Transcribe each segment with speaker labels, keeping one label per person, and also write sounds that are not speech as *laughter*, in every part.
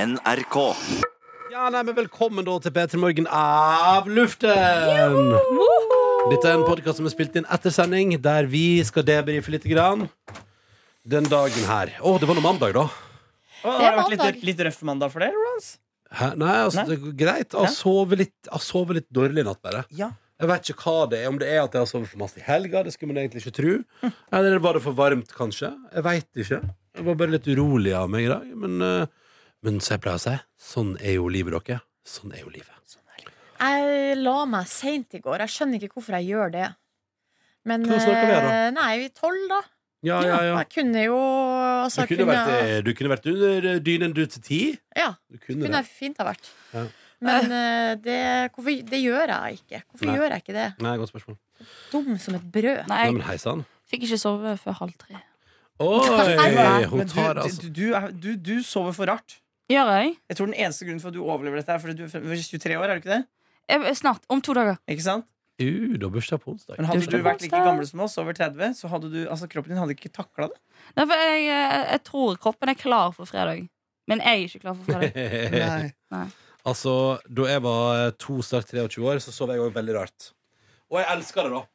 Speaker 1: NRK.
Speaker 2: Ja, nei, men Velkommen da til P3 Morgen av luften! Dette er en podkast som er spilt inn etter sending, der vi skal debrife litt. Grann. Den dagen her. Å, det var nå mandag, da.
Speaker 3: Å,
Speaker 4: Det er
Speaker 3: har det vært
Speaker 4: mandag.
Speaker 3: litt, litt røff mandag for deg, Rons?
Speaker 2: Hæ? Nei, altså,
Speaker 3: Nei.
Speaker 2: det går greit. Jeg har sovet litt, jeg har sovet litt dårlig i natt, bare.
Speaker 3: Ja.
Speaker 2: Jeg vet ikke hva det er. Om det er at jeg har sovet for masse i helga, det skulle man egentlig ikke tro. Eller var det for varmt, kanskje? Jeg veit ikke. Jeg var bare litt urolig av meg i dag. Men, eh, men som jeg pleier å si, sånn er jo livet, dere. Sånn er jo livet.
Speaker 4: Jeg la meg seint i går. Jeg skjønner ikke hvorfor jeg gjør det. Men
Speaker 2: Hvordan snakker vi her, da?
Speaker 4: eh, Nei, vi er tolv, da.
Speaker 2: Ja, ja, ja.
Speaker 4: Jeg kunne jo altså,
Speaker 2: Du
Speaker 4: jeg
Speaker 2: kunne, vært, eh, du kunne vært under eh, dynen du til ti.
Speaker 4: Ja,
Speaker 2: Du kunne
Speaker 4: kunne
Speaker 2: det.
Speaker 4: jeg fint ha vært.
Speaker 2: Ja.
Speaker 4: Men eh, det, hvorfor, det gjør jeg ikke. Hvorfor
Speaker 2: Nei.
Speaker 4: gjør jeg ikke det?
Speaker 2: Nei, godt spørsmål.
Speaker 4: Dum som et brød.
Speaker 5: Nei,
Speaker 2: Nei,
Speaker 5: jeg
Speaker 2: men hei sann.
Speaker 5: fikk ikke sove før halv tre.
Speaker 2: Oi!
Speaker 3: Men
Speaker 2: Hun
Speaker 3: du,
Speaker 2: tar
Speaker 3: du,
Speaker 2: altså
Speaker 3: du, er- du, du sover for rart.
Speaker 5: Gjør jeg?
Speaker 3: Jeg tror den eneste grunnen for at du overlever dette, er fordi du er frem- 23 år. er du Ikke det?
Speaker 5: jeg? eh, Snart. Om to dager.
Speaker 3: Ikke sant?
Speaker 2: Uh, du har bursdag på onsdag.
Speaker 3: Men Hadde
Speaker 5: Du
Speaker 3: du
Speaker 5: er
Speaker 2: *laughs*
Speaker 3: vært
Speaker 5: så
Speaker 3: like gammel som oss, over 30, så hadde du, altså, kroppen din hadde ikke takla det.
Speaker 5: Nei, for jeg, jeg, jeg tror kroppen er klar for fredag. Men jeg er ikke klar for fredag. Nei.
Speaker 2: altså, da jeg var to, snart 23 år, så sov jeg òg veldig rart. Og jeg elsker det, da.
Speaker 5: *laughs*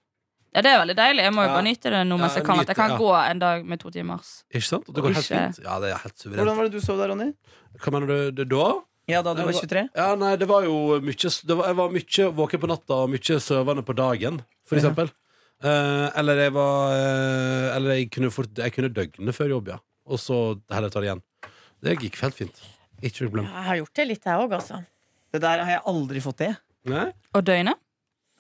Speaker 5: Ja, Det er veldig deilig. Jeg må jo
Speaker 2: Ja.
Speaker 5: bare nyte det nå mens
Speaker 2: Ja,
Speaker 5: jeg kan. At jeg kan
Speaker 2: nyte, ja.
Speaker 5: gå en dag med to timers.
Speaker 2: Ikke sant? Og det går helt
Speaker 5: Ikke.
Speaker 2: fint. Ja, det er helt suverent.
Speaker 3: Hvordan var det du sov da, Ronny?
Speaker 2: Hva mener du det da?
Speaker 3: Ja, da du
Speaker 2: Nei,
Speaker 3: var
Speaker 2: det
Speaker 3: 23?
Speaker 2: Ja, nei, det var jo mye det var, Jeg var mye våken på natta og mye søvende på dagen, for
Speaker 3: Ja.
Speaker 2: eksempel. Eh, eller jeg var eh, Eller jeg kunne, fort, jeg kunne døgnet før jobb, ja. Og så heller ta det igjen. Det gikk helt fint. Ikke noe problem.
Speaker 4: Jeg har gjort det litt, jeg òg, altså.
Speaker 3: Det der har jeg aldri fått til.
Speaker 2: Nei?
Speaker 5: Og *laughs* døgnet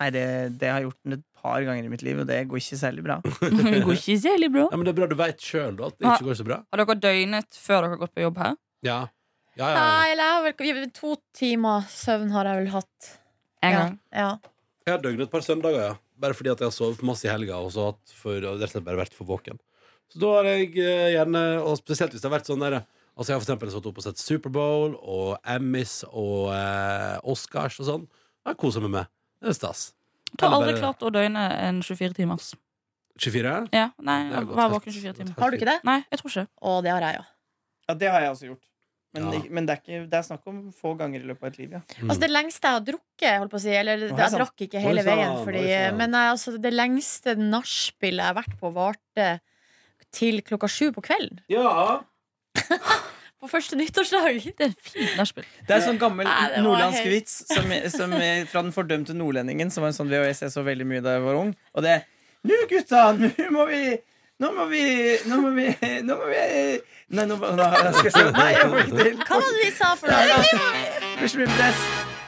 Speaker 3: Nei, det, det har jeg gjort den et par ganger i mitt liv, og det går ikke særlig *laughs* bra.
Speaker 5: går ikke særlig bra.
Speaker 2: Ja, men det er bra du veit sjøl, da, at det ikke går så bra.
Speaker 5: Har dere døgnet før dere har gått på jobb her?
Speaker 2: Ja. Ja, ja, ja.
Speaker 4: Nei, eller jeg har vel To timer søvn har jeg vel hatt.
Speaker 5: En
Speaker 4: Ja,
Speaker 5: gang.
Speaker 4: ja.
Speaker 2: Jeg har døgnet et par søndager, ja. Bare fordi at jeg har sovet masse i helga og så hatt for, og rett og slett bare vært for våken. Så da har jeg eh, gjerne, og spesielt hvis det har vært sånn der Altså Jeg har for eksempel satt opp og sett Superbowl og Emmys og eh, Oscars og sånn. Jeg koser meg med. Det er stas.
Speaker 5: Jeg har aldri
Speaker 2: Eller bare-
Speaker 5: klart å døgne en 24 timers.
Speaker 2: 24?
Speaker 5: Ja, nei,
Speaker 2: Det har gått
Speaker 5: Vær
Speaker 2: helt-
Speaker 5: våken 24 timer.
Speaker 4: Har du ikke det?
Speaker 5: Nei, jeg tror ikke.
Speaker 4: Å, det har jeg, ja.
Speaker 3: Ja, Det har jeg også gjort. Men,
Speaker 2: Ja.
Speaker 3: det- men det, er ikke, det er snakk om få ganger i løpet av et liv. ja
Speaker 2: Mm.
Speaker 4: Altså Det lengste jeg har drukket, holdt på å si Eller
Speaker 3: Oi,
Speaker 4: jeg
Speaker 3: sann.
Speaker 4: drakk ikke hele
Speaker 2: Oi, sann,
Speaker 4: veien, fordi,
Speaker 2: oi, sann.
Speaker 4: men jeg, altså, det lengste nachspielet jeg har vært på, varte til klokka sju på kvelden.
Speaker 2: Ja.
Speaker 4: På første *laughs* nyttårsdag!
Speaker 5: Det er fint nachspiel.
Speaker 3: Det er sånn gammel
Speaker 4: Nei, det var
Speaker 3: nordlandsk
Speaker 4: helt-
Speaker 3: vits som, som, eh, fra den fordømte nordlendingen, som var en sånn VHS jeg så veldig mye da jeg var ung. Og det Nå, gutta! Nå må vi Nå må vi Nå må vi, nå må vi Nei, nå må- nå skal jeg si Nei, jeg får ikke til.
Speaker 4: Hva var det vi sa for
Speaker 3: Nei,
Speaker 4: noe?
Speaker 3: da blir så mye press.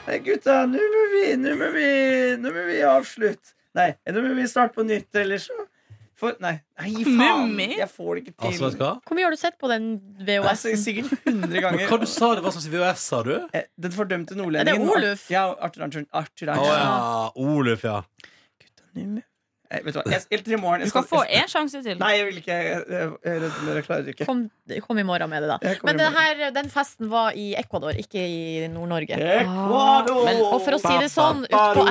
Speaker 3: Nei, gutta, nå må vi Nå må vi, nå må vi avslutte. Nei, nå må vi starte på nytt, ellers så for, Nei, nei, faen!
Speaker 5: Mummi?
Speaker 3: Jeg får det ikke til.
Speaker 2: Altså, vet du hva?
Speaker 4: Hvor mye har du sett på den
Speaker 3: altså,
Speaker 4: VHS-en?
Speaker 3: sikkert 100
Speaker 2: Men
Speaker 3: ganger.
Speaker 2: hva du sa det var slags VHS, sa du?
Speaker 3: Eh, Den fordømte nordlendingen.
Speaker 4: Er det Oluf?
Speaker 3: Ar- Ja, Arthur Arntzen. Arthur
Speaker 2: Å
Speaker 3: Arntzen.
Speaker 2: ja. Oluf, ja.
Speaker 3: Gutta, nå må- Nei, Vet du hva, jeg, helt til i morgen jeg
Speaker 5: Du skal
Speaker 3: skal-
Speaker 5: få
Speaker 3: jeg-
Speaker 5: én sjanse til.
Speaker 3: Nei, jeg vil ikke. Jeg, jeg, jeg, jeg, jeg klarer ikke.
Speaker 4: Kom, kom i morgen med det, da.
Speaker 3: Jeg kommer
Speaker 4: Men
Speaker 3: i
Speaker 4: det
Speaker 3: morgen.
Speaker 4: her, den festen var i Ecuador, ikke i Nord-Norge.
Speaker 3: Ecuador!
Speaker 5: Men-
Speaker 4: Og for å si det sånn, utpå et,
Speaker 2: Ja,
Speaker 4: eh,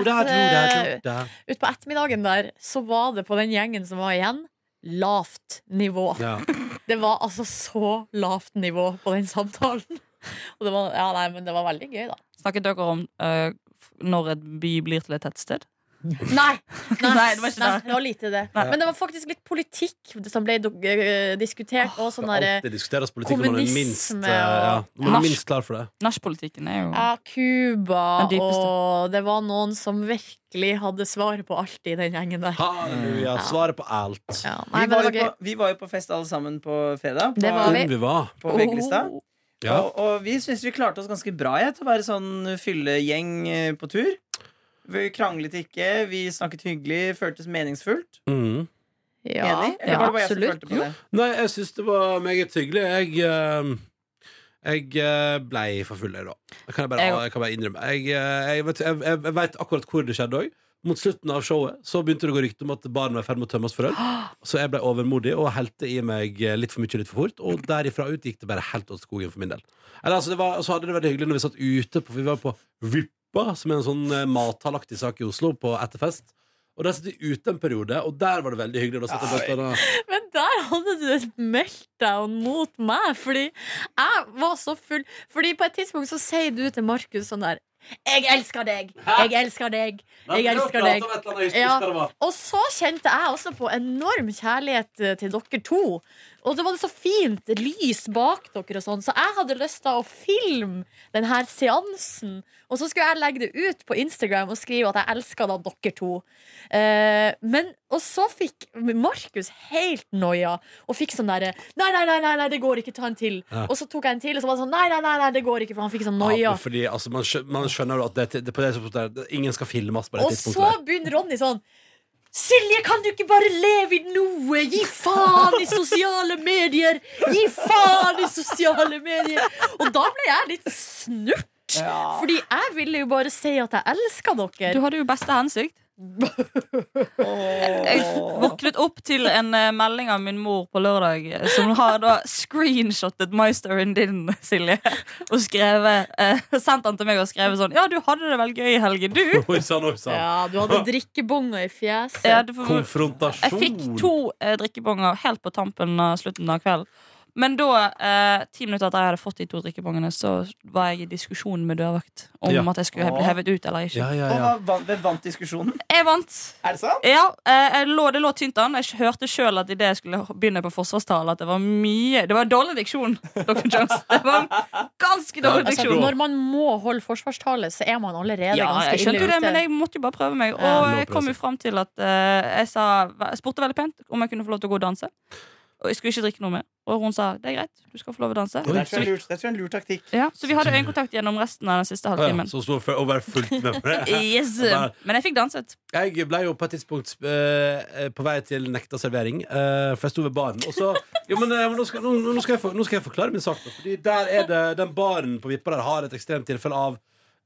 Speaker 4: ut på ettermiddagen der, så var det på den gjengen som var igjen, lavt nivå.
Speaker 2: ja.
Speaker 4: Det var altså så lavt nivå på den samtalen. Og det var, ja, nei, men det var veldig gøy, da.
Speaker 5: Snakket dere om eh, f- når et by blir til et tettsted?
Speaker 4: Nei, nei,
Speaker 5: Nei, det var ikke
Speaker 4: nei,
Speaker 5: det.
Speaker 4: det var lite det.
Speaker 5: Nei.
Speaker 4: Men det var faktisk litt politikk som ble do- eh, diskutert. Og sånn
Speaker 2: Skal
Speaker 4: derre
Speaker 2: alltid diskuteres politikk når man er minst,
Speaker 4: kommunisme
Speaker 2: eh, ja, når man er
Speaker 5: Norsk.
Speaker 2: minst klar for det.
Speaker 5: Nachpolitikken er jo
Speaker 4: ja, Cuba,
Speaker 5: sånn. Den dypeste.
Speaker 4: og det var noen som virkelig hadde svar på alt i den gjengen der.
Speaker 2: Halleluja.
Speaker 4: Ja.
Speaker 2: Svaret på alt.
Speaker 4: Ja,
Speaker 3: vi,
Speaker 4: nei, men
Speaker 3: var
Speaker 4: det var
Speaker 3: jo
Speaker 4: gøy.
Speaker 3: på, vi var jo på fest alle sammen på fredag. På,
Speaker 4: Det var vi.
Speaker 2: Om vi var.
Speaker 3: på VG-lista.
Speaker 5: Oh.
Speaker 2: Ja.
Speaker 3: Og, og vi syns vi klarte oss ganske bra jeg, til å være sånn fyllegjeng eh, på tur. Vi kranglet ikke, vi snakket hyggelig, føltes meningsfullt.
Speaker 2: Mm.
Speaker 4: Ja,
Speaker 3: Enig? Eller
Speaker 4: ja,
Speaker 3: var det bare jeg som
Speaker 4: absolutt.
Speaker 3: følte på det?
Speaker 2: Nei, jeg syns det var meget hyggelig. Jeg, eh, jeg eh, blei for full, jeg, da. Jeg kan jeg bare,
Speaker 5: Jeg-
Speaker 2: jeg kan bare innrømme. Jeg, eh, jeg, vet, jeg, jeg, jeg vet akkurat hvor det skjedde òg. Mot slutten av showet så begynte det å gå rykter om at baren var i ferd med å tømmes for øl. Så jeg ble overmodig og helte i meg eh, litt for mye litt for fort. Og derifra ut gikk det bare helt åt skogen for min del. Eller, altså, det var, så hadde det vært hyggelig når vi satt ute, på, vi var på Rippa, som er en sånn eh, mathallaktig sak i Oslo, på etterfest. Og der satt vi ute en periode, og der var det veldig hyggelig. Da satt jeg blant annet
Speaker 4: Men der hadde du et meltdown mot meg, fordi jeg var så full. Fordi på et tidspunkt så sier du til Markus sånn der Jeg elsker deg! Jeg elsker deg! Jeg elsker deg! Ja. Og så kjente jeg også på enorm kjærlighet eh, til dere to. Og det var så fint lys bak dere og sånn, så jeg hadde lyst til å filme den her seansen. Og så skulle jeg legge det ut på Instagram og skrive at jeg elska da dere to. Eh, men, og så fikk Markus helt noia og fikk sånn derre nei, nei, nei, nei, nei, det går ikke, ta en til.
Speaker 2: Ja.
Speaker 4: Og så tok jeg en til, og så var det sånn nei, nei, nei, nei det går ikke, for han fikk sånn noia.
Speaker 2: Ja, men fordi altså, man, skjø- man skjønner jo at det, det, på det tidspunktet der, ingen skal filmes på det
Speaker 4: Og så
Speaker 2: tidspunktet.
Speaker 4: begynner Ronny sånn Silje, kan du ikke bare leve i noe? Gi faen i sosiale medier! Gi faen i sosiale medier! Og da ble jeg litt snurt.
Speaker 3: Ja.
Speaker 4: Fordi jeg ville jo bare si at jeg elsker
Speaker 5: Du
Speaker 4: dere.
Speaker 5: hadde jo beste hensikt.
Speaker 3: Åh.
Speaker 5: Jeg våknet opp til en eh, melding av min mor på lørdag, eh, som har da screenshottet my-storyen din, Silje, og skrevet, eh, sendt den til meg og skrevet sånn Ja, du hadde det vel gøy i helgen, du?
Speaker 2: Oi sann, oi sann.
Speaker 4: Ja, du hadde drikkebonger i fjeset.
Speaker 5: Ja, du får,
Speaker 2: Konfrontasjon.
Speaker 5: jeg fikk to eh, drikkebonger helt på tampen av slutten av kvelden. Men da, eh, ti minutter etter jeg hadde fått de to drikkebongene, så var jeg i diskusjon med dørvakt om
Speaker 2: Ja.
Speaker 5: at jeg skulle bli hevet ut eller ikke.
Speaker 2: Ja, ja,
Speaker 3: Og
Speaker 2: ja.
Speaker 3: hva- vant- Hvem vant diskusjonen?
Speaker 5: Jeg vant.
Speaker 3: Er det sant?
Speaker 5: Ja, eh, jeg lå, det lå tynt an. Jeg hørte sjøl at idet jeg skulle begynne på forsvarstale, at det var mye Det var dårlig diksjon, *laughs* Dr. Jones. Det var ganske dårlig
Speaker 4: Altså,
Speaker 5: diksjon.
Speaker 4: når man må holde forsvarstale, så er man allerede
Speaker 5: Ja,
Speaker 4: ganske
Speaker 5: jeg skjønte jo
Speaker 4: ille
Speaker 5: det,
Speaker 4: ute.
Speaker 5: men jeg måtte jo bare prøve meg.
Speaker 4: Ja,
Speaker 5: Og jeg
Speaker 2: lovprøve.
Speaker 5: kom jo fram til at eh, jeg, sa, jeg spurte veldig pent om jeg kunne få lov til å gå og danse. Og jeg skulle ikke drikke noe mer. Og hun sa det er greit, du skal få lov til å danse.
Speaker 3: Det tror jeg er lurt- det tror jeg er en lur taktikk.
Speaker 5: Ja, så vi hadde øyekontakt gjennom resten av den
Speaker 2: Å,
Speaker 5: siste
Speaker 2: ja.
Speaker 5: halvtimen.
Speaker 2: Så *laughs* sto for å være fullt med på
Speaker 4: *laughs*
Speaker 2: det.
Speaker 5: Yes.
Speaker 2: Ja.
Speaker 5: Men jeg fikk danset.
Speaker 2: Jeg ble jo på et tidspunkt eh, på vei til nekta servering, eh, for jeg sto ved baren. Og så, jo, men, eh, men nå, skal, nå, nå, skal jeg for, nå skal jeg forklare min sak, da. Fordi der er det, den baren på Vippa der har et ekstremt tilfelle av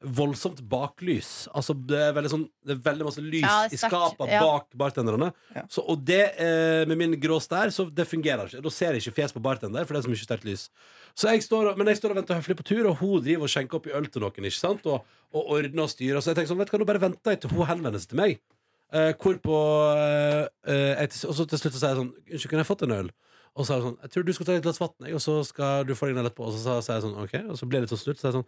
Speaker 2: voldsomt baklys. Altså, det, er veldig sånn, det er veldig masse lys
Speaker 4: Ja, det er
Speaker 2: i
Speaker 4: sterkt,
Speaker 2: skapet
Speaker 4: ja.
Speaker 2: bak bartenderne.
Speaker 3: Ja.
Speaker 2: Så, og det, eh, med min grå stær, så det fungerer ikke. Da ser jeg ikke fjes på bartender, for det er så mye sterkt lys. Så jeg står, og- men jeg står og venter høflig på tur, og hun driver og skjenker opp i øl til noen. ikke sant? Og, og ordner og styrer. Så jeg tenker sånn, vet du hva, nå bare venter jeg til hun henvender seg til meg. Eh, hvorpå eh, eh, jeg til- Og så til slutt så sier jeg sånn Unnskyld, kunne jeg fått en øl? Og så er det sånn Jeg tror du skal ta et glass vann, jeg, og så skal du få deg en øl etterpå. Og så sa- sier jeg sånn OK, og så blir det litt sånn snurt. Så er jeg sånn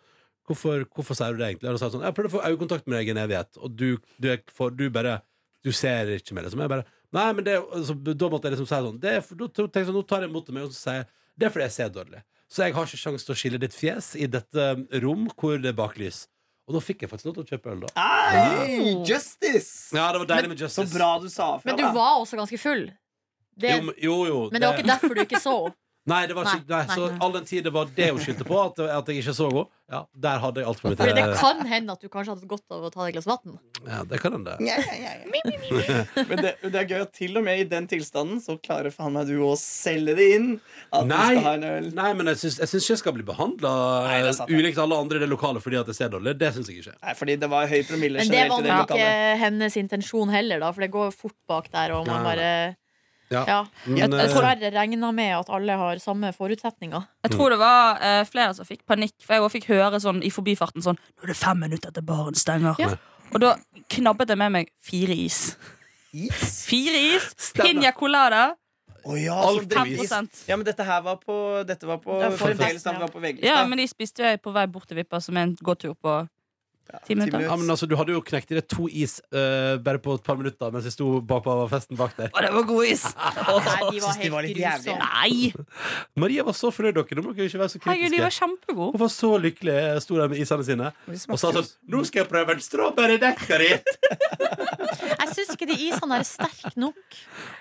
Speaker 2: Hvorfor, hvorfor sier du det egentlig? Og så er jeg sånn Jeg prøvde å få øyekontakt med deg i en evighet, og du, du, er, for, du bare Du ser ikke meg, liksom. Jeg bare Nei, men det altså, Da måtte jeg liksom si sånn det er, for, da, tenkte jeg sånn, Nå tar jeg imot det meg, og så sier jeg Det er fordi jeg ser dårlig. Så jeg har ikke sjanse til å skille ditt fjes i dette rom hvor det er baklys. Og da fikk jeg faktisk lov til å kjøpe øl, da.
Speaker 3: Ei, justice!
Speaker 2: Ja, det var deilig med
Speaker 3: Så
Speaker 2: justice.
Speaker 3: bra du sa fra.
Speaker 4: Men du
Speaker 3: da.
Speaker 4: var også ganske full. Det,
Speaker 2: Jo, men- jo, jo.
Speaker 4: men det var ikke derfor du ikke
Speaker 2: *laughs*
Speaker 4: så henne.
Speaker 2: Nei, det var ikke, nei,
Speaker 4: Nei, nei,
Speaker 2: så
Speaker 4: nei.
Speaker 2: all den tid det var det hun skyldte på, at, at jeg ikke så henne, ja, der hadde jeg alt for mitt
Speaker 4: Fordi det
Speaker 2: eh,
Speaker 4: kan hende at du kanskje hadde godt av å ta deg et glass vann.
Speaker 2: Ja, det kan hende.
Speaker 3: Ja, ja,
Speaker 4: *laughs*
Speaker 3: ja, ja. Men det, det er gøy at til og med i den tilstanden så klarer faen meg du å selge det inn. At
Speaker 2: Nei.
Speaker 3: du skal ha en øl.
Speaker 2: Nei, men jeg syns jeg, syns ikke jeg skal bli behandla
Speaker 3: Nei, det er sant, ja.
Speaker 2: ulikt alle andre i det lokale fordi at jeg ser dårlig. Det syns jeg ikke.
Speaker 3: Nei, fordi det var høy promille
Speaker 4: Men det
Speaker 3: generelt i
Speaker 4: var
Speaker 3: det
Speaker 4: nok ikke
Speaker 3: lokalet.
Speaker 4: hennes intensjon heller, da, for det går fort bak der. Og man
Speaker 2: Nei,
Speaker 4: bare,
Speaker 2: Ja.
Speaker 4: ja.
Speaker 2: Men, eh,
Speaker 4: Dessverre regna med at alle har samme forutsetninger.
Speaker 5: Jeg tror det var eh, flere som fikk panikk, for jeg også fikk høre sånn i forbifarten sånn Nå er det fem minutter til baren stenger.
Speaker 4: Ja.
Speaker 5: Og da knabbet jeg med meg fire is.
Speaker 3: Yes.
Speaker 5: Fire is,
Speaker 2: Stemmer.
Speaker 5: piña colada,
Speaker 4: eh,
Speaker 3: Å ja,
Speaker 2: Alt
Speaker 3: så
Speaker 2: for
Speaker 3: drikkes.
Speaker 5: 5
Speaker 3: Ja, men dette her var på Dette var på
Speaker 4: Det var
Speaker 3: for
Speaker 4: for
Speaker 3: Deles,
Speaker 4: festen,
Speaker 3: han
Speaker 4: ja.
Speaker 3: var på VG-lista.
Speaker 5: Ja, men de spiste jeg på vei bort til Vippa, som er en gåtur på ti minutter.
Speaker 2: ja, men altså, du hadde jo knekt i deg to is eh, bare på et par minutter mens jeg sto bak på festen bak der.
Speaker 5: Å, det var god
Speaker 2: *laughs*
Speaker 5: is!
Speaker 4: Nei, de
Speaker 3: Synes
Speaker 4: var
Speaker 3: de var
Speaker 4: helt
Speaker 3: litt jævlige.
Speaker 4: grusomme.
Speaker 5: Nei!
Speaker 2: Maria var så fornøyd, dere. Nå må dere ikke være så
Speaker 5: Herregud, de
Speaker 2: kritiske.
Speaker 5: var kjempegode.
Speaker 2: Hun var så lykkelig, eh, sto der med isene sine, og sa sånn Nå skal jeg prøve en strawberry-dekkeri!
Speaker 4: Jeg syns ikke de isene er sterke *laughs* nok.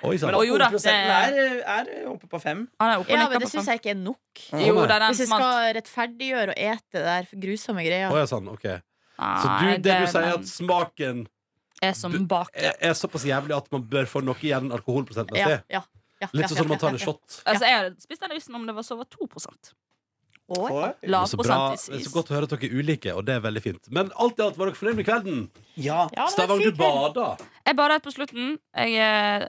Speaker 2: Oi sann.
Speaker 5: Å, jo da, det-
Speaker 3: Prosenten er, er oppe på fem.
Speaker 5: Han er oppe og
Speaker 4: Ja, men
Speaker 5: nikker
Speaker 4: det
Speaker 5: på
Speaker 4: syns jeg
Speaker 5: fem.
Speaker 4: sånn. ikke er nok.
Speaker 2: Å,
Speaker 5: Jo,
Speaker 2: nei.
Speaker 5: det er den
Speaker 4: Hvis jeg
Speaker 5: smalt.
Speaker 4: skal rettferdiggjøre å ete det der grusomme greia.
Speaker 2: Å, ja, sann. Ok. Så
Speaker 5: Nei,
Speaker 2: du, det du
Speaker 5: er
Speaker 2: sier, er
Speaker 5: den
Speaker 2: at smaken
Speaker 5: er som bak.
Speaker 2: er, er såpass jævlig at man bør få noe igjen
Speaker 4: Ja,
Speaker 2: alkoholprosentmessig?
Speaker 4: ja, ja,
Speaker 2: Litt
Speaker 4: ja,
Speaker 2: sånn som
Speaker 4: ja,
Speaker 2: man tar en
Speaker 4: ja,
Speaker 2: shot.
Speaker 5: Altså, jeg hadde spist den isen om det var så var 2
Speaker 4: ja. Oi.
Speaker 3: Oi.
Speaker 5: Lav
Speaker 2: Så, bra,
Speaker 5: prosentis
Speaker 2: så
Speaker 5: is.
Speaker 2: godt å høre at dere er ulike, og det er veldig fint. Men alt i alt, var dere fornøyd med kvelden?
Speaker 3: Ja.
Speaker 4: Ja, men det er
Speaker 2: Stavanger,
Speaker 4: fint,
Speaker 2: du
Speaker 4: vel?
Speaker 2: bada.
Speaker 5: Jeg badet på slutten. Jeg eh,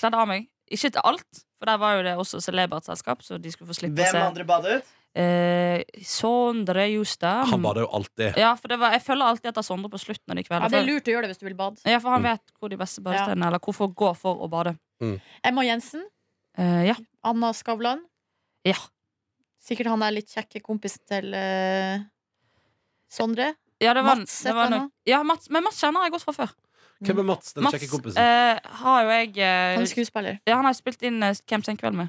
Speaker 5: kledde av meg. Ikke til alt, for der var jo det også celebert selskap, så de skulle få slippe
Speaker 3: Hvem
Speaker 5: å se.
Speaker 3: andre badet?
Speaker 5: Eh, Sondre Justad.
Speaker 2: Han bader jo alltid.
Speaker 5: Ja, for det var, jeg følger alltid etter Sondre på slutten av
Speaker 4: Ja,
Speaker 5: de kveldene.
Speaker 4: det er lurt å gjøre det hvis du vil bade.
Speaker 2: Mm.
Speaker 5: Ja, for han vet hvor de beste badestedene er, eller hvorfor gå for å bade.
Speaker 4: Emma Jensen,
Speaker 5: Eh, ja.
Speaker 4: Anna Skavlan.
Speaker 5: ja.
Speaker 4: Sikkert han er litt kjekke kompisen til eh, Sondre.
Speaker 5: Ja, det var,
Speaker 4: Mats
Speaker 5: det var
Speaker 4: heter han
Speaker 5: nok, ja, Mats, men Mats kjenner jeg godt fra før.
Speaker 2: Hvem er Mats, den
Speaker 5: Mats
Speaker 2: kjekke kompisen?
Speaker 5: eh, har jo jeg eh,
Speaker 4: Han er skuespiller.
Speaker 5: ja, Han har jeg spilt inn eh, Hvem sen kveld med.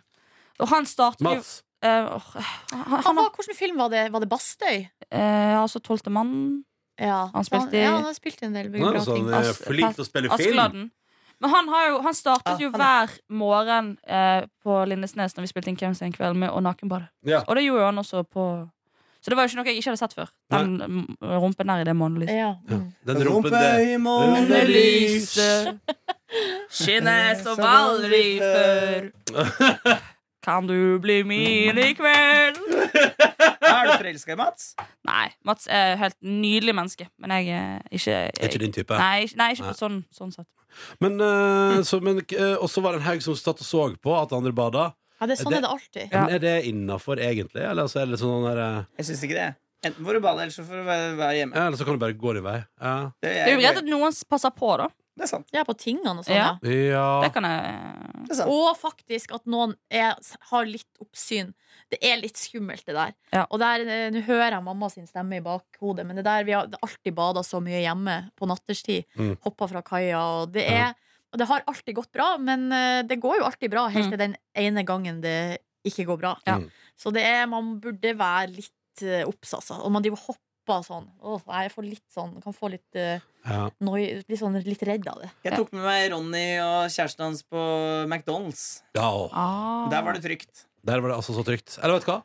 Speaker 5: Og han starter jo
Speaker 2: Mats.
Speaker 5: eh, åh, han,
Speaker 4: Han
Speaker 5: han,
Speaker 4: var, hvilken film var det? Var det Bastøy?
Speaker 5: eh, Altså Tolvte mann.
Speaker 4: Ja,
Speaker 5: Han
Speaker 4: så
Speaker 5: spilte i-
Speaker 4: ja, han har spilt en del
Speaker 2: Han
Speaker 4: bra
Speaker 2: er jo sånn
Speaker 4: ting.
Speaker 2: eh,
Speaker 5: As-
Speaker 2: flink til å spille film.
Speaker 5: Askeladden. Men han, har jo, han startet
Speaker 3: Ja,
Speaker 5: jo
Speaker 3: han
Speaker 5: hver morgen eh, på Lindesnes når vi spilte inn Hvem sen kveld med, og Nakenbadet.
Speaker 2: Ja.
Speaker 5: Og det gjorde jo han også på Så det var jo ikke noe jeg ikke hadde sett før. Den mm, rumpen der i det månelyset.
Speaker 4: Ja.
Speaker 2: Ja.
Speaker 4: Mm.
Speaker 2: Den rumpen der.
Speaker 3: i
Speaker 5: Månelyset *laughs* skinner som aldri før. Kan du bli min i kveld?
Speaker 3: Er du forelska i Mats?
Speaker 5: Nei, Mats er et helt nydelig menneske, men jeg er ikke
Speaker 2: Er ikke din type.
Speaker 5: Nei, ikke- nei, ikke
Speaker 2: Nei.
Speaker 5: på sånn, sånn sett.
Speaker 2: Men, eh, så, men eh, Og så var det en haug som satt og så på at andre bada.
Speaker 4: ja, det er sånn
Speaker 2: Det-
Speaker 4: er det alltid.
Speaker 5: Ja.
Speaker 2: Men er det innafor, egentlig? Eller, altså, er det sånn der, eh,
Speaker 3: Jeg syns ikke det. Enten får du ball, eller så får du være være hjemme.
Speaker 2: ja, eller så kan du bare gå din vei. Ja.
Speaker 3: Det
Speaker 5: Det er jo greit at noen passer på, da.
Speaker 3: det er sant.
Speaker 4: Ja, på tingene og sånn.
Speaker 5: Ja.
Speaker 4: Ja.
Speaker 5: Det
Speaker 2: ja.
Speaker 5: kan jeg
Speaker 3: Det er sant.
Speaker 4: Og faktisk at noen er, har litt oppsyn. Det er litt skummelt, det der.
Speaker 5: Ja.
Speaker 4: Og der, eh, Nå hører jeg mamma sin stemme i bakhodet, men det der vi har alltid bada så mye hjemme på natterstid.
Speaker 2: Mm.
Speaker 4: Hoppa fra kaia, og det
Speaker 2: Ja.
Speaker 4: er Og det har alltid gått bra, men eh, det går jo alltid bra helt
Speaker 5: Mm.
Speaker 4: til den ene gangen det ikke går bra.
Speaker 5: Ja.
Speaker 2: Mm.
Speaker 4: Så det er Man burde være litt eh, obs, altså. Og man driver og hopper sånn. Åh, nei, jeg får litt sånn Kan få litt eh,
Speaker 2: Ja.
Speaker 4: noi, litt, sånn, litt redd av det.
Speaker 3: Jeg tok med meg Ronny og kjæresten hans på McDonald's.
Speaker 2: ja. og
Speaker 5: ah.
Speaker 3: Der var det trygt.
Speaker 2: Der var det altså så trygt. Eller vet du hva?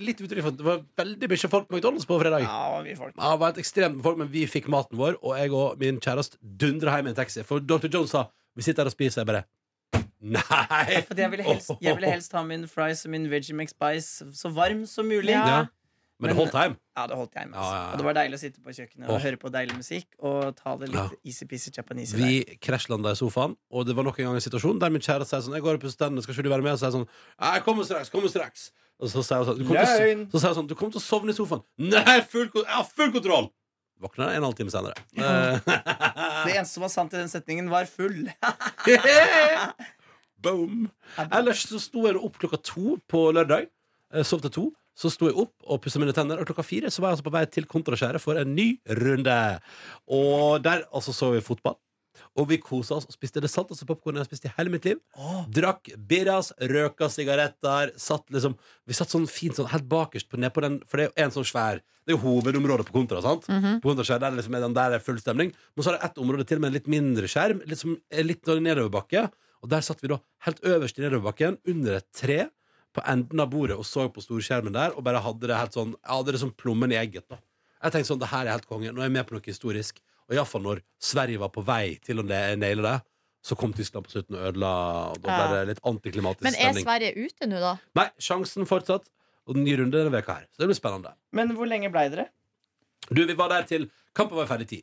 Speaker 2: Litt utrygt, for Det var veldig mye folk på McDonald's på fredag.
Speaker 3: Ja, det var mye folk.
Speaker 2: Ja, det var et ekstremt med folk, men vi fikk maten vår, og jeg og min kjæreste dundra hjem i en taxi. For Dr. Jones sa vi sitter her og spiser. Jeg bare Nei!
Speaker 3: For jeg, ville helst, jeg ville helst ha min fries og min Veggie Mac Spice så varm som mulig.
Speaker 4: Ja.
Speaker 2: Ja. Men det holdt hjem.
Speaker 3: Ja, det holdt jeg med. Altså.
Speaker 2: Ja, ja, ja.
Speaker 3: Og det var deilig å sitte på kjøkkenet og
Speaker 2: Åh.
Speaker 3: høre på deilig musikk og ta det
Speaker 2: Ja.
Speaker 3: litt easy-peasy japanese.
Speaker 2: Vi krasjlanda i sofaen, og det var nok en gang en situasjon der min kjæreste sier sånn Jeg går opp hos tennene, skal ikke du være med? Og så sier jeg sånn «Nei, Jeg kommer straks, kommer straks. Og så sier hun sånn, du kommer til,
Speaker 3: Løgn.
Speaker 2: å- så sier hun sånn Du kommer til å sovne i sofaen. Nei, full, kon- jeg har full kontroll! Våkner en halvtime senere. Eh,
Speaker 3: der. Det eneste som var sant i den setningen, var full. *laughs*
Speaker 2: Boom! Ellers så sto jeg nå opp klokka to på lørdag. Eh, Sov til to. Så sto jeg opp og pussa mine tenner, og klokka fire så var jeg altså på vei til Kontraskjæret for en ny runde. Og der altså så vi fotball. Og vi kosa oss og spiste det salteste popkornet jeg har spist i hele mitt liv. Drakk birras, røka sigaretter. Satt liksom, vi satt sånn fint sånn helt bakerst på, ned på den, for det er jo en sånn svær Det er jo hovedområdet på Kontra. sant? På Kontraskjær, der, liksom, er den der er full stemning. Men så er det ett område til med en litt mindre skjerm, litt, som, er litt nedoverbakke. Og der satt vi da helt øverst i nedoverbakken, under et tre, på enden av bordet og så på storskjermen der, og bare hadde det helt sånn Jeg hadde det som plommen i egget. da Jeg tenkte sånn, det her er helt konge. Nå er jeg med på noe historisk. Og iallfall når Sverige var på vei til å ne- naile det, så kom Tyskland på slutten og ødela, og da ble
Speaker 4: Ja.
Speaker 2: det litt antiklimatisk
Speaker 4: Men er
Speaker 2: stemning.
Speaker 4: Sverige ute nå, da?
Speaker 2: Nei, sjansen fortsatt. Og den nye runde denne veka her. Så det blir spennende.
Speaker 3: Men hvor lenge blei dere?
Speaker 2: Du, vi var der til kampen var ferdig ti.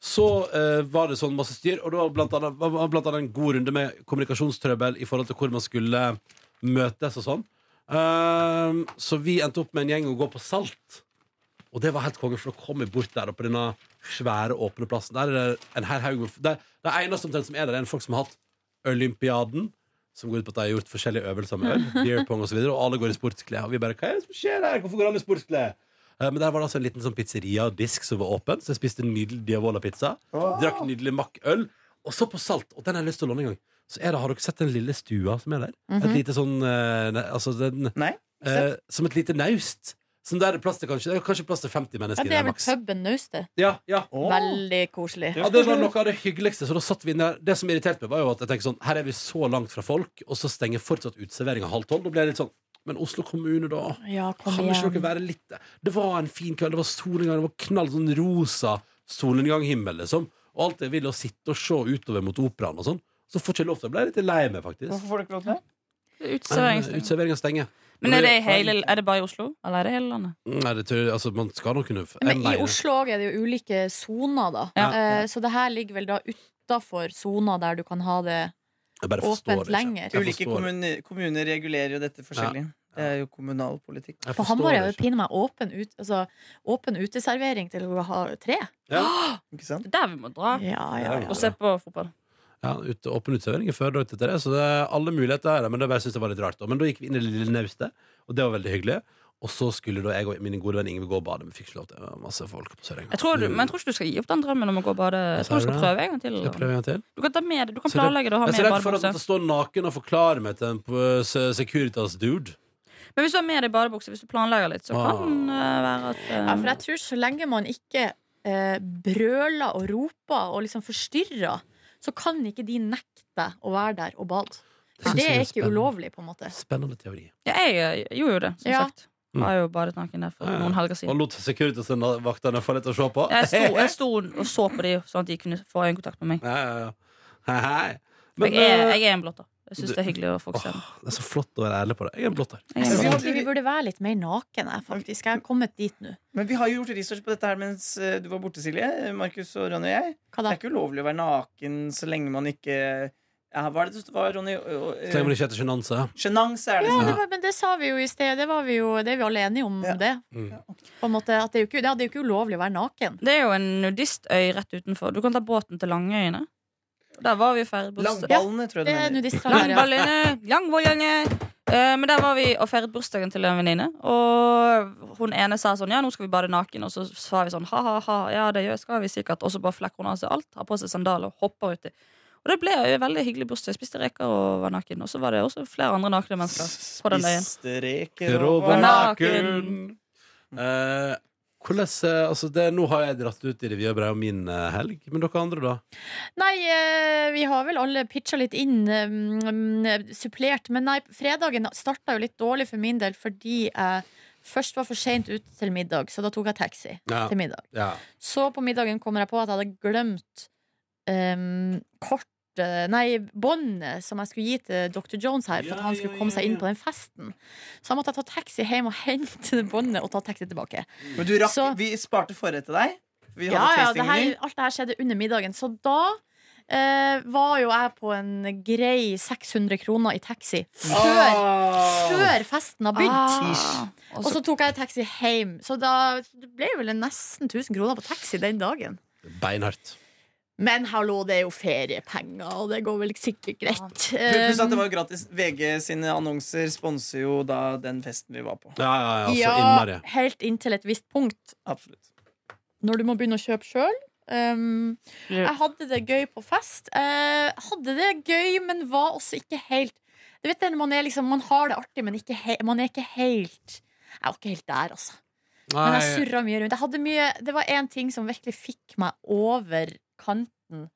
Speaker 2: Så eh, var det sånn masse styr, og det var blant annet, var blant annet en god runde med kommunikasjonstrøbbel i forhold til hvor man skulle møtes og sånn. Ehm, så vi endte opp med en gjeng å gå på Salt. Og det var helt konge, for da kom vi bort der og på denne svære, åpne plassen. Der er det en her haug med f- Det, det eneste omtrent som er der, er en folk som har hatt Olympiaden. Som går ut på at de har gjort forskjellige øvelser med øl. Beer pong og så videre, og alle går i sportsklær. Og vi bare Hva er det som skjer her? Hvorfor går alle i sportsklær? Eh, Men der var det altså en liten sånn pizzeria-disk som var åpen, så jeg spiste en nydelig Diavola-pizza. Drakk nydelig Mack-øl. Og så på Salt, og den har jeg lyst til å låne en gang. Så er det, Har dere sett den lille stua som er der?
Speaker 4: Mhm.
Speaker 2: Et lite sånn eh, ne- Altså den
Speaker 3: Nei?
Speaker 2: eh, Som et lite naust. Som der er plass til kanskje Det er kanskje plass til 50
Speaker 4: Ja,
Speaker 2: mennesker.
Speaker 4: det
Speaker 2: i
Speaker 4: er vel
Speaker 2: maks.
Speaker 4: puben Naustet.
Speaker 2: ja, ja.
Speaker 4: Veldig koselig.
Speaker 2: Ja, det var noe av det hyggeligste. Så da satt vi inne der. Det som irriterte meg, var jo at jeg tenkte sånn Her er vi så langt fra folk, og så stenger fortsatt uteserveringa halv tolv. Da ble jeg litt sånn Men Oslo kommune, da?
Speaker 4: Ja, kom
Speaker 2: Kan ikke dere
Speaker 4: igjen.
Speaker 2: være litt Det var en fin kveld, det var solnedgang, det var knall sånn rosa solnedganghimmel, liksom. Og alt jeg ville, å sitte og se utover mot operaen og sånn. Så får ikke jeg lov til det. Jeg ble litt lei meg, faktisk.
Speaker 3: Hvorfor får du ikke lov til det?
Speaker 5: Uteserveringsting.
Speaker 2: Uteserveringa stenger.
Speaker 5: Men er det, i hele, er det bare i Oslo, eller er det i hele landet?
Speaker 2: Nei, det tror jeg, altså, man skal nok kunne jeg
Speaker 4: Men i
Speaker 2: mener-
Speaker 4: Oslo også er det jo ulike soner, da.
Speaker 5: Ja.
Speaker 4: Eh, Så det her ligger vel da utafor sona der du kan ha det
Speaker 2: jeg bare forstår
Speaker 4: åpent
Speaker 2: det ikke.
Speaker 4: lenger.
Speaker 2: Jeg
Speaker 3: Ulike
Speaker 2: forstår.
Speaker 3: kommuner, kommuner regulerer jo dette forskjellig. Det er jo kommunal politikk.
Speaker 2: Jeg
Speaker 4: På
Speaker 2: forstår
Speaker 4: Hamar er
Speaker 2: det
Speaker 4: det
Speaker 2: ikke.
Speaker 4: pinlig meg åpen, ut, altså, åpen uteservering til klokka ha- tre.
Speaker 2: Ja.
Speaker 3: Ikke sant?
Speaker 5: Det er der vi må dra
Speaker 4: Ja, ja, ja.
Speaker 5: og se på fotball.
Speaker 2: Ja, ut, åpen uteservering i Førde og ut etter det, så det er alle muligheter her. Men det bare synes jeg var litt rart. da. Men da gikk vi inn i det lille naustet, og det var veldig hyggelig. Og så skulle da jeg og min gode venn Ingve gå og bade, men fikk ikke lov til. Det var Masse folk på Sørenga.
Speaker 5: Jeg tror du, men jeg tror ikke du skal gi opp den drømmen om å gå og bade. Jeg tror du skal prøve en gang til.
Speaker 2: Skal jeg prøve en gang til?
Speaker 5: Du kan, ta med, det. du kan
Speaker 2: Så det-
Speaker 5: planlegge det og ha
Speaker 2: Jeg er
Speaker 5: med
Speaker 2: så redd for
Speaker 5: badebukse.
Speaker 2: at jeg står naken og forklarer meg til en på- se- Securitas-dude.
Speaker 5: Men hvis du har med deg badebukse, hvis du planlegger litt, så
Speaker 2: Ah.
Speaker 5: kan det være at eh,
Speaker 4: Ja, for jeg tror så lenge man ikke eh, brøler og roper og liksom forstyrrer, så kan ikke de nekte deg å være der og bade. For det er ikke ulovlig, på en måte.
Speaker 2: Spennende teori.
Speaker 5: Ja, jeg eh, gjorde jo det, som
Speaker 4: Ja.
Speaker 5: sagt. Jeg har jo badet naken der for
Speaker 2: Ja, ja.
Speaker 5: noen helger siden.
Speaker 2: Og lot Securitas-vaktene få litt å se på.
Speaker 5: Jeg sto,
Speaker 2: *laughs*
Speaker 5: jeg sto og så på dem, sånn at de kunne få øyekontakt med meg.
Speaker 2: Ja, ja, ja. Hei, hei. Men,
Speaker 5: Jeg er,
Speaker 2: eh,
Speaker 5: jeg er en blotter. Jeg syns
Speaker 2: du-
Speaker 5: det er hyggelig å få se.
Speaker 2: åh, det er så flott å være ærlig på det. Jeg er en blotter.
Speaker 4: Jeg
Speaker 5: Jeg er en
Speaker 3: vi
Speaker 4: synes
Speaker 5: blotter.
Speaker 3: har-
Speaker 4: egentlig vi burde være litt mer naken, jeg, faktisk. Jeg er kommet dit nå.
Speaker 3: Men vi har jo gjort research på dette her mens eh, du var borte, Silje. Markus og Ronny og jeg.
Speaker 4: Hva
Speaker 3: Det
Speaker 4: da?
Speaker 3: er ikke ulovlig å være naken så lenge man ikke ja, Hva er det det var, Ronny?
Speaker 2: Så lenge man ikke heter sjenanse.
Speaker 3: Sjenanse er det. sånn.
Speaker 4: Ja,
Speaker 3: som-
Speaker 4: det var, men det sa vi jo i sted. Det, var vi jo, det er vi alle enige om,
Speaker 3: Ja.
Speaker 4: det.
Speaker 2: Mm.
Speaker 4: På en måte, at det, er jo ikke, ja, det er jo ikke ulovlig å være naken.
Speaker 5: Det er jo en nudistøy rett utenfor. Du kan ta båten til Langøyene. Der var vi ferdig på
Speaker 3: Langballene, tror jeg
Speaker 4: Det
Speaker 3: du
Speaker 4: er
Speaker 3: mener.
Speaker 4: nudistsalæret. Ja.
Speaker 5: Langvollene, Langvollene. Eh, men der var vi og feiret bursdagen til en venninne. Og hun ene sa sånn Ja, nå skal vi bade naken. Og så sa vi sånn ha-ha-ha. Ja, det gjør skal vi sikkert. Og så bare flekker hun av seg alt, har på seg sandaler og hopper uti. Og det ble en veldig hyggelig bursdag. Jeg spiste reker og var naken. Og så var det også flere andre nakne mennesker på den øyen.
Speaker 3: Spiste reker og
Speaker 2: Rover
Speaker 5: naken.
Speaker 2: naken. Eh, hvordan, eh, altså det, nå har jeg dratt ut i revyarbrevet om min eh, helg, men dere andre, da?
Speaker 4: Nei, eh, vi har vel alle pitcha litt inn, mm, mm, supplert. Men nei, fredagen starta jo litt dårlig for min del fordi jeg først var for seint ute til middag, så da tok jeg taxi
Speaker 2: Ja.
Speaker 4: til middag.
Speaker 2: Ja.
Speaker 4: Så på middagen kommer jeg på at jeg hadde glemt em, kortet Nei, båndet som jeg skulle gi til Dr. Jones her,
Speaker 2: Ja,
Speaker 4: for at han
Speaker 2: ja,
Speaker 4: skulle
Speaker 2: ja,
Speaker 4: komme seg inn
Speaker 2: ja.
Speaker 4: på den festen. Så jeg måtte ta taxi hjem og *laughs* hente det båndet og ta taxi tilbake.
Speaker 3: Men du rakk,
Speaker 4: Så-
Speaker 3: vi sparte forrett til deg. Vi
Speaker 4: Ja,
Speaker 3: hadde
Speaker 4: ja, det
Speaker 3: tastingen
Speaker 4: her,
Speaker 3: din.
Speaker 4: alt det her skjedde under middagen. Så da eh, var jo jeg på en grei 600 kroner i taxi før,
Speaker 2: Ah.
Speaker 3: Åh.
Speaker 4: før festen har begynt.
Speaker 5: Ah. og
Speaker 4: Og
Speaker 5: så
Speaker 4: så tok jeg taxi hjem. Så da det ble vel nesten 1000 kroner på taxi den dagen.
Speaker 2: Beinhardt.
Speaker 4: Men hallo, det er jo feriepenger, og det går vel sikkert greit.
Speaker 3: Pluss at det
Speaker 4: Um,
Speaker 3: var jo gratis. VG sine annonser sponser jo da den festen vi var på.
Speaker 2: Ja, ja,
Speaker 3: altså,
Speaker 2: ja, så innmari.
Speaker 4: Eh, ja, helt inntil et visst punkt.
Speaker 3: Absolutt.
Speaker 4: Når du må begynne å kjøpe sjøl. Um, Jeg hadde det gøy på fest. Eh, hadde det gøy, men var også ikke helt Du vet det, når man, er liksom, man har det artig, men ikke he man er ikke helt Jeg var ikke helt der, altså. Men jeg
Speaker 2: Nei,
Speaker 4: surra mye rundt. Jeg hadde mye, det var én ting som virkelig fikk meg over kanten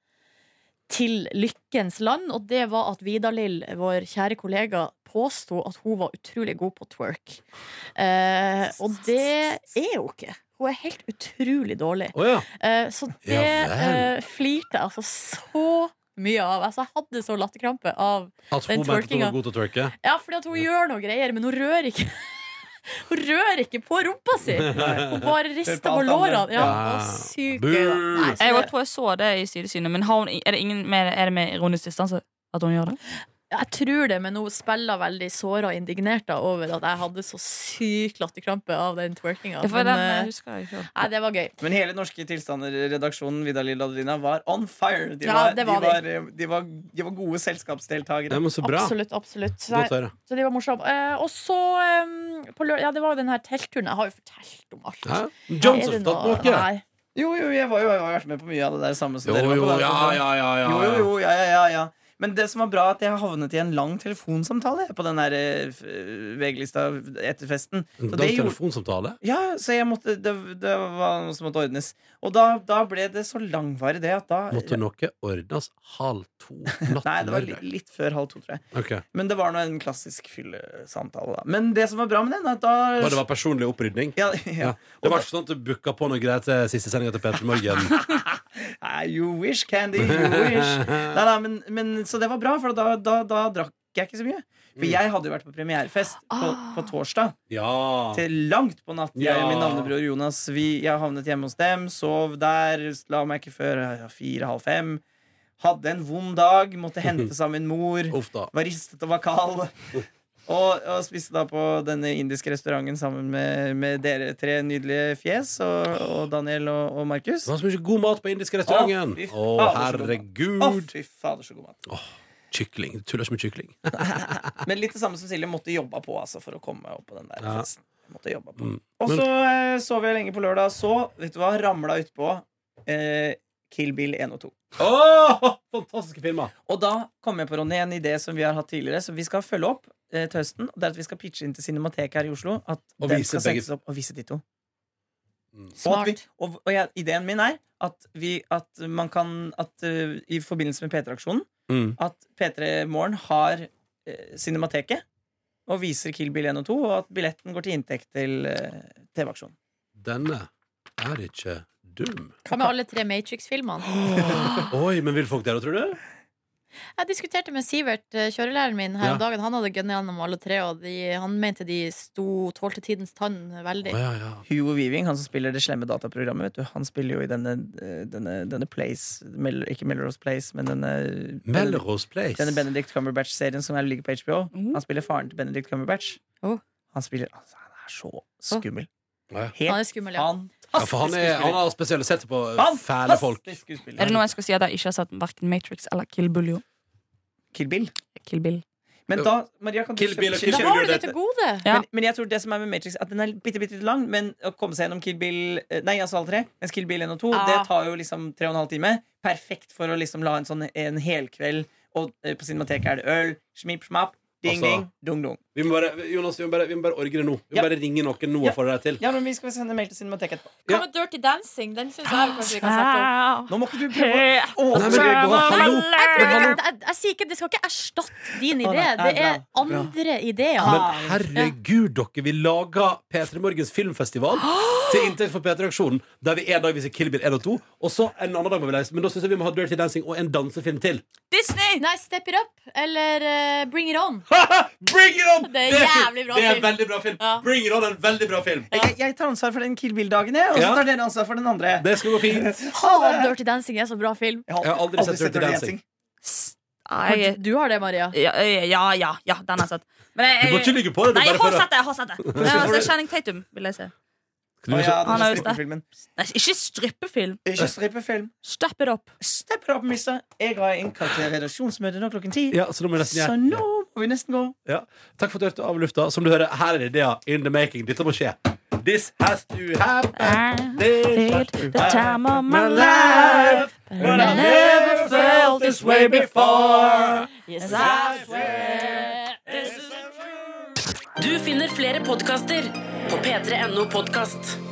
Speaker 4: til lykkens land, og det var at Vidar-Lill, vår kjære kollega, påsto at hun var utrolig god på twerk. Eh, og det er hun ikke. Hun er helt utrolig dårlig.
Speaker 2: Å ja.
Speaker 4: Eh, Så det
Speaker 2: Ja vel.
Speaker 4: eh, flirte jeg altså så mye av. Altså, jeg hadde så latterkrampe av
Speaker 2: At
Speaker 4: Den
Speaker 2: hun mente at hun
Speaker 4: twerkinga.
Speaker 2: var god til å twerke?
Speaker 4: Ja, fordi at hun gjør noe greier, men hun rører ikke. *laughs* Hun rører ikke på rumpa si! Hun bare rister
Speaker 3: på
Speaker 4: på
Speaker 3: alt
Speaker 4: lårene.
Speaker 3: andre.
Speaker 4: Ja,
Speaker 2: Ja.
Speaker 4: og sykt
Speaker 2: Boo.
Speaker 4: gøy. da. Nei, så
Speaker 5: Jeg også
Speaker 4: det-
Speaker 5: tror jeg så det i sidesynet, men har hun, er, det ingen med, er det med ironisk distanse at hun gjør det?
Speaker 4: Jeg tror det, men hun spiller veldig såra og indignert da, over at jeg hadde så sykt latterkrampe av den twerkinga.
Speaker 5: Ja, for
Speaker 4: Men,
Speaker 5: den eh,
Speaker 4: eh,
Speaker 5: husker jeg ikke.
Speaker 4: Nei, det var gøy.
Speaker 3: Men hele Norske Tilstander-redaksjonen Vidar Lill og Adelina var on fire. De
Speaker 4: Ja,
Speaker 3: var,
Speaker 4: det var
Speaker 3: de, var, eh, de, var, de var gode selskapsdeltakere.
Speaker 2: Nei, men så bra.
Speaker 4: Absolutt. absolutt Nei,
Speaker 2: Godt å høre.
Speaker 4: Så de var morsomme. Eh, og så eh, på lør Ja, det var jo den her teltturen. Jeg har jo fortalt om alt.
Speaker 2: Hæ?
Speaker 4: Er
Speaker 2: Jones
Speaker 4: det
Speaker 2: har tatt
Speaker 4: noe-
Speaker 2: noe.
Speaker 4: Nei.
Speaker 3: Jo, jo, jeg, var, jo, jeg har vært med på mye av det der samme
Speaker 2: Jo,
Speaker 3: som dere var
Speaker 2: jo,
Speaker 3: på. da.
Speaker 2: ja, ja, ja. ja,
Speaker 3: Jo,
Speaker 2: ja.
Speaker 3: jo, jo, ja, ja, ja, ja. Men det som var bra, at jeg havnet i en lang telefonsamtale på den der eh, f- VG-lista etter festen.
Speaker 2: En
Speaker 3: Så
Speaker 2: lang
Speaker 3: det gjorde
Speaker 2: telefonsamtale?
Speaker 3: ja, så jeg måtte, det, det var noe som måtte ordnes. Og da, da ble det så langvarig, det, at da
Speaker 2: Måtte noe ordnes halv to natt
Speaker 3: Nei,
Speaker 2: til
Speaker 3: det var li-
Speaker 2: lørdag?
Speaker 3: litt før halv to, tror jeg.
Speaker 2: Ok.
Speaker 3: Men det var nå en klassisk fyllesamtale, da. Men det som var bra med den, at da
Speaker 2: Og det var personlig opprydning?
Speaker 3: *laughs* ja,
Speaker 2: Ja.
Speaker 3: ja.
Speaker 2: Det var ikke sånn at du booka på noe greit til siste sendinga til Peter
Speaker 3: *laughs*
Speaker 2: Morgen?
Speaker 3: Nei, You wish, Candy, you wish.
Speaker 2: *laughs*
Speaker 3: Nei, nei, men, men, så det var bra, for da, da, da drakk jeg ikke så mye.
Speaker 2: Mm.
Speaker 3: For jeg hadde jo vært på premierefest på, på torsdag.
Speaker 2: Ja.
Speaker 3: Til langt på natt. Jeg og min
Speaker 2: Ja.
Speaker 3: navnebror Jonas vi, Jeg havnet hjemme hos dem, sov der, la meg ikke før eh, fire-halv fem.
Speaker 2: *laughs*
Speaker 3: Hadde en vond dag, måtte hente sammen mor.
Speaker 2: Uff da. *laughs*
Speaker 3: Var ristet og var kald. Og, og spiste da på denne indiske restauranten sammen med, med dere tre nydelige fjes. Og, og Daniel og, og Markus.
Speaker 2: Det var så mye god mat på indiske restauranten.
Speaker 3: Å, fy faen,
Speaker 2: Å,
Speaker 3: så god mat. Å,
Speaker 2: herregud.
Speaker 3: fy fader, så god mat.
Speaker 2: Kykling. Du tuller ikke med kykling.
Speaker 3: Men litt det samme som Silje måtte jobba på altså, for å komme opp på den der
Speaker 2: Ja.
Speaker 3: festen. Måtte jobba på.
Speaker 2: Mm.
Speaker 3: Og så eh, sov jeg lenge på lørdag. Så, vet du hva, ramla utpå eh, Kill Bill 1 og 2.
Speaker 2: Å, fantastiske filmer.
Speaker 3: Og da kom jeg på Ronny, en idé som vi har hatt tidligere, som vi skal følge opp eh, til høsten. Og det er at vi skal pitche inn til Cinemateket her i Oslo at
Speaker 2: Og
Speaker 3: den
Speaker 2: vise
Speaker 3: skal
Speaker 2: begge-
Speaker 3: sendes opp og vise de to.
Speaker 2: Mm.
Speaker 3: Og, at vi,
Speaker 5: Smart.
Speaker 3: og, og jeg, ideen min er at, vi, at man kan at, eh, I forbindelse med P3-aksjonen
Speaker 2: Mm.
Speaker 3: at P3 Morgen har eh, Cinemateket og viser Kill Bill 1 og 2, og at billetten går til inntekt til eh, TV-aksjonen.
Speaker 2: Denne er ikke dum.
Speaker 4: Hva med alle tre Matrix-filmene?
Speaker 2: Oi, men vil folk det, da, tror du?
Speaker 4: Jeg diskuterte med Sivert, eh, kjørelæreren min, her
Speaker 2: Ja.
Speaker 4: om dagen. Han hadde gønnet gjennom alle tre, og de, han mente de sto tålte tidens tann veldig.
Speaker 2: Å, ja, ja.
Speaker 3: Hugo Weaving, han som spiller det slemme dataprogrammet, vet du, han spiller jo i denne, eh, denne, denne Place Mel, Ikke Melrose Place, men denne
Speaker 2: Melrose Place.
Speaker 3: Denne Benedict Cumberbatch-serien som er ligger på HBO.
Speaker 5: Mm.
Speaker 3: Han spiller faren til Benedict Cumberbatch.
Speaker 4: Oh.
Speaker 3: Han spiller altså, Han er så skummel.
Speaker 2: Ja.
Speaker 4: Han
Speaker 3: Helt
Speaker 4: er skummel, ja.
Speaker 2: Ja,
Speaker 3: fantastisk
Speaker 2: for han, er, han
Speaker 3: skuespiller.
Speaker 2: har spesialisert seg på fæle folk.
Speaker 3: Fantastisk
Speaker 5: Er det
Speaker 3: skuespiller.
Speaker 5: noe jeg skal si at jeg ikke har sett verken Matrix eller Kill Bill? Jo.
Speaker 3: Kill Bill.
Speaker 5: Kill Bill.
Speaker 3: Men da, Maria, kan du
Speaker 2: Kill Bill og Kill
Speaker 4: Da
Speaker 2: Bill
Speaker 4: har
Speaker 2: gjør
Speaker 4: du det til gode!
Speaker 5: Ja.
Speaker 3: Men, men jeg tror det som er med Matrix At den er bitte, bitte litt lang, men å komme seg gjennom Kill Bill eh, Nei, altså alle tre. Mens Kill Bill 1 og 2
Speaker 4: Ah.
Speaker 3: det tar jo liksom tre og en halv time. Perfekt for å liksom la en sånn en helkveld Og eh, på Cinemateket er det øl, smipp, smapp, ding,
Speaker 2: Altså-
Speaker 3: ding, dung, dung.
Speaker 2: Vi må bare, Jonas, vi må bare, vi må bare orge det nå. Vi må
Speaker 3: Ja.
Speaker 2: bare ringe noen nå
Speaker 3: Ja.
Speaker 2: og få det der til.
Speaker 3: Ja, men vi skal sende mail til Cinemateket etterpå.
Speaker 2: Ja.
Speaker 4: Hva med Dirty Dancing? Den syns jeg kanskje vi kan snakke om.
Speaker 3: Nå må ikke du prøve å
Speaker 2: Nei, men det går- hallo.
Speaker 4: Jeg, prøver,
Speaker 2: Men
Speaker 4: jeg,
Speaker 2: hallo.
Speaker 4: jeg, jeg, sier ikke, Det skal ikke erstatte din
Speaker 3: Å,
Speaker 4: idé.
Speaker 3: nei, nei,
Speaker 4: Det er
Speaker 3: bra, bra.
Speaker 4: andre ideer.
Speaker 3: Men-
Speaker 2: Men herregud, dere, vi lager P3 Morgens filmfestival til inntekt for P3-aksjonen, der vi en dag viser Kill Bill 1 og 2, og så en annen dag må vi leise. Men da syns jeg vi må ha Dirty Dancing og en dansefilm til.
Speaker 5: Disney!
Speaker 4: Nei, Step It Up eller eh, Bring It On.
Speaker 2: Bring it on!
Speaker 4: Det er jævlig bra
Speaker 2: det er
Speaker 4: film.
Speaker 2: en veldig bra film.
Speaker 4: Ja.
Speaker 2: Bring it on, en veldig bra film.
Speaker 3: Jeg, jeg tar ansvar for den Kill Bill-dagen, jeg, og så
Speaker 2: Ja.
Speaker 3: tar dere ansvar for den andre.
Speaker 2: Det skal gå fint.
Speaker 4: Faen, Dirty Dancing er så bra film.
Speaker 3: Jeg har
Speaker 2: Jeg har aldri sett Dirty Dancing.
Speaker 4: Har
Speaker 5: Nei,
Speaker 4: du- Du har det, Maria.
Speaker 5: ja, ja, ja, ja, den har jeg sett. Men
Speaker 2: Du må
Speaker 5: jeg,
Speaker 2: ikke
Speaker 5: jeg,
Speaker 2: ligge på det.
Speaker 5: nei,
Speaker 2: det er
Speaker 5: jeg
Speaker 2: bare
Speaker 5: har
Speaker 2: for å-
Speaker 5: sett det! Jeg
Speaker 2: *laughs*
Speaker 5: har sett det. Jeg har sett Channing Tatum vil jeg se.
Speaker 2: Skal du
Speaker 3: Å, ja,
Speaker 2: se-
Speaker 5: Han
Speaker 3: den
Speaker 5: er jo
Speaker 3: strippefilmen.
Speaker 5: Nei, ikke strippefilm.
Speaker 3: Ikke strippefilm.
Speaker 5: Step it up.
Speaker 3: Stepper opp, mister. Jeg var innkalt til redaksjonsmøte nå klokken ti,
Speaker 2: Ja, så nå må jeg nesten
Speaker 3: så
Speaker 2: gjøre
Speaker 3: nå må vi nesten gå.
Speaker 2: ja. Takk for at du hørte av lufta. Som du hører, her er ideer in the making. Dette må skje. This has to happen. This has to
Speaker 5: the time of my
Speaker 2: life, but I never felt this way before.
Speaker 4: Yes,
Speaker 2: I swear.
Speaker 1: Du finner flere podkaster på p3.no podkast.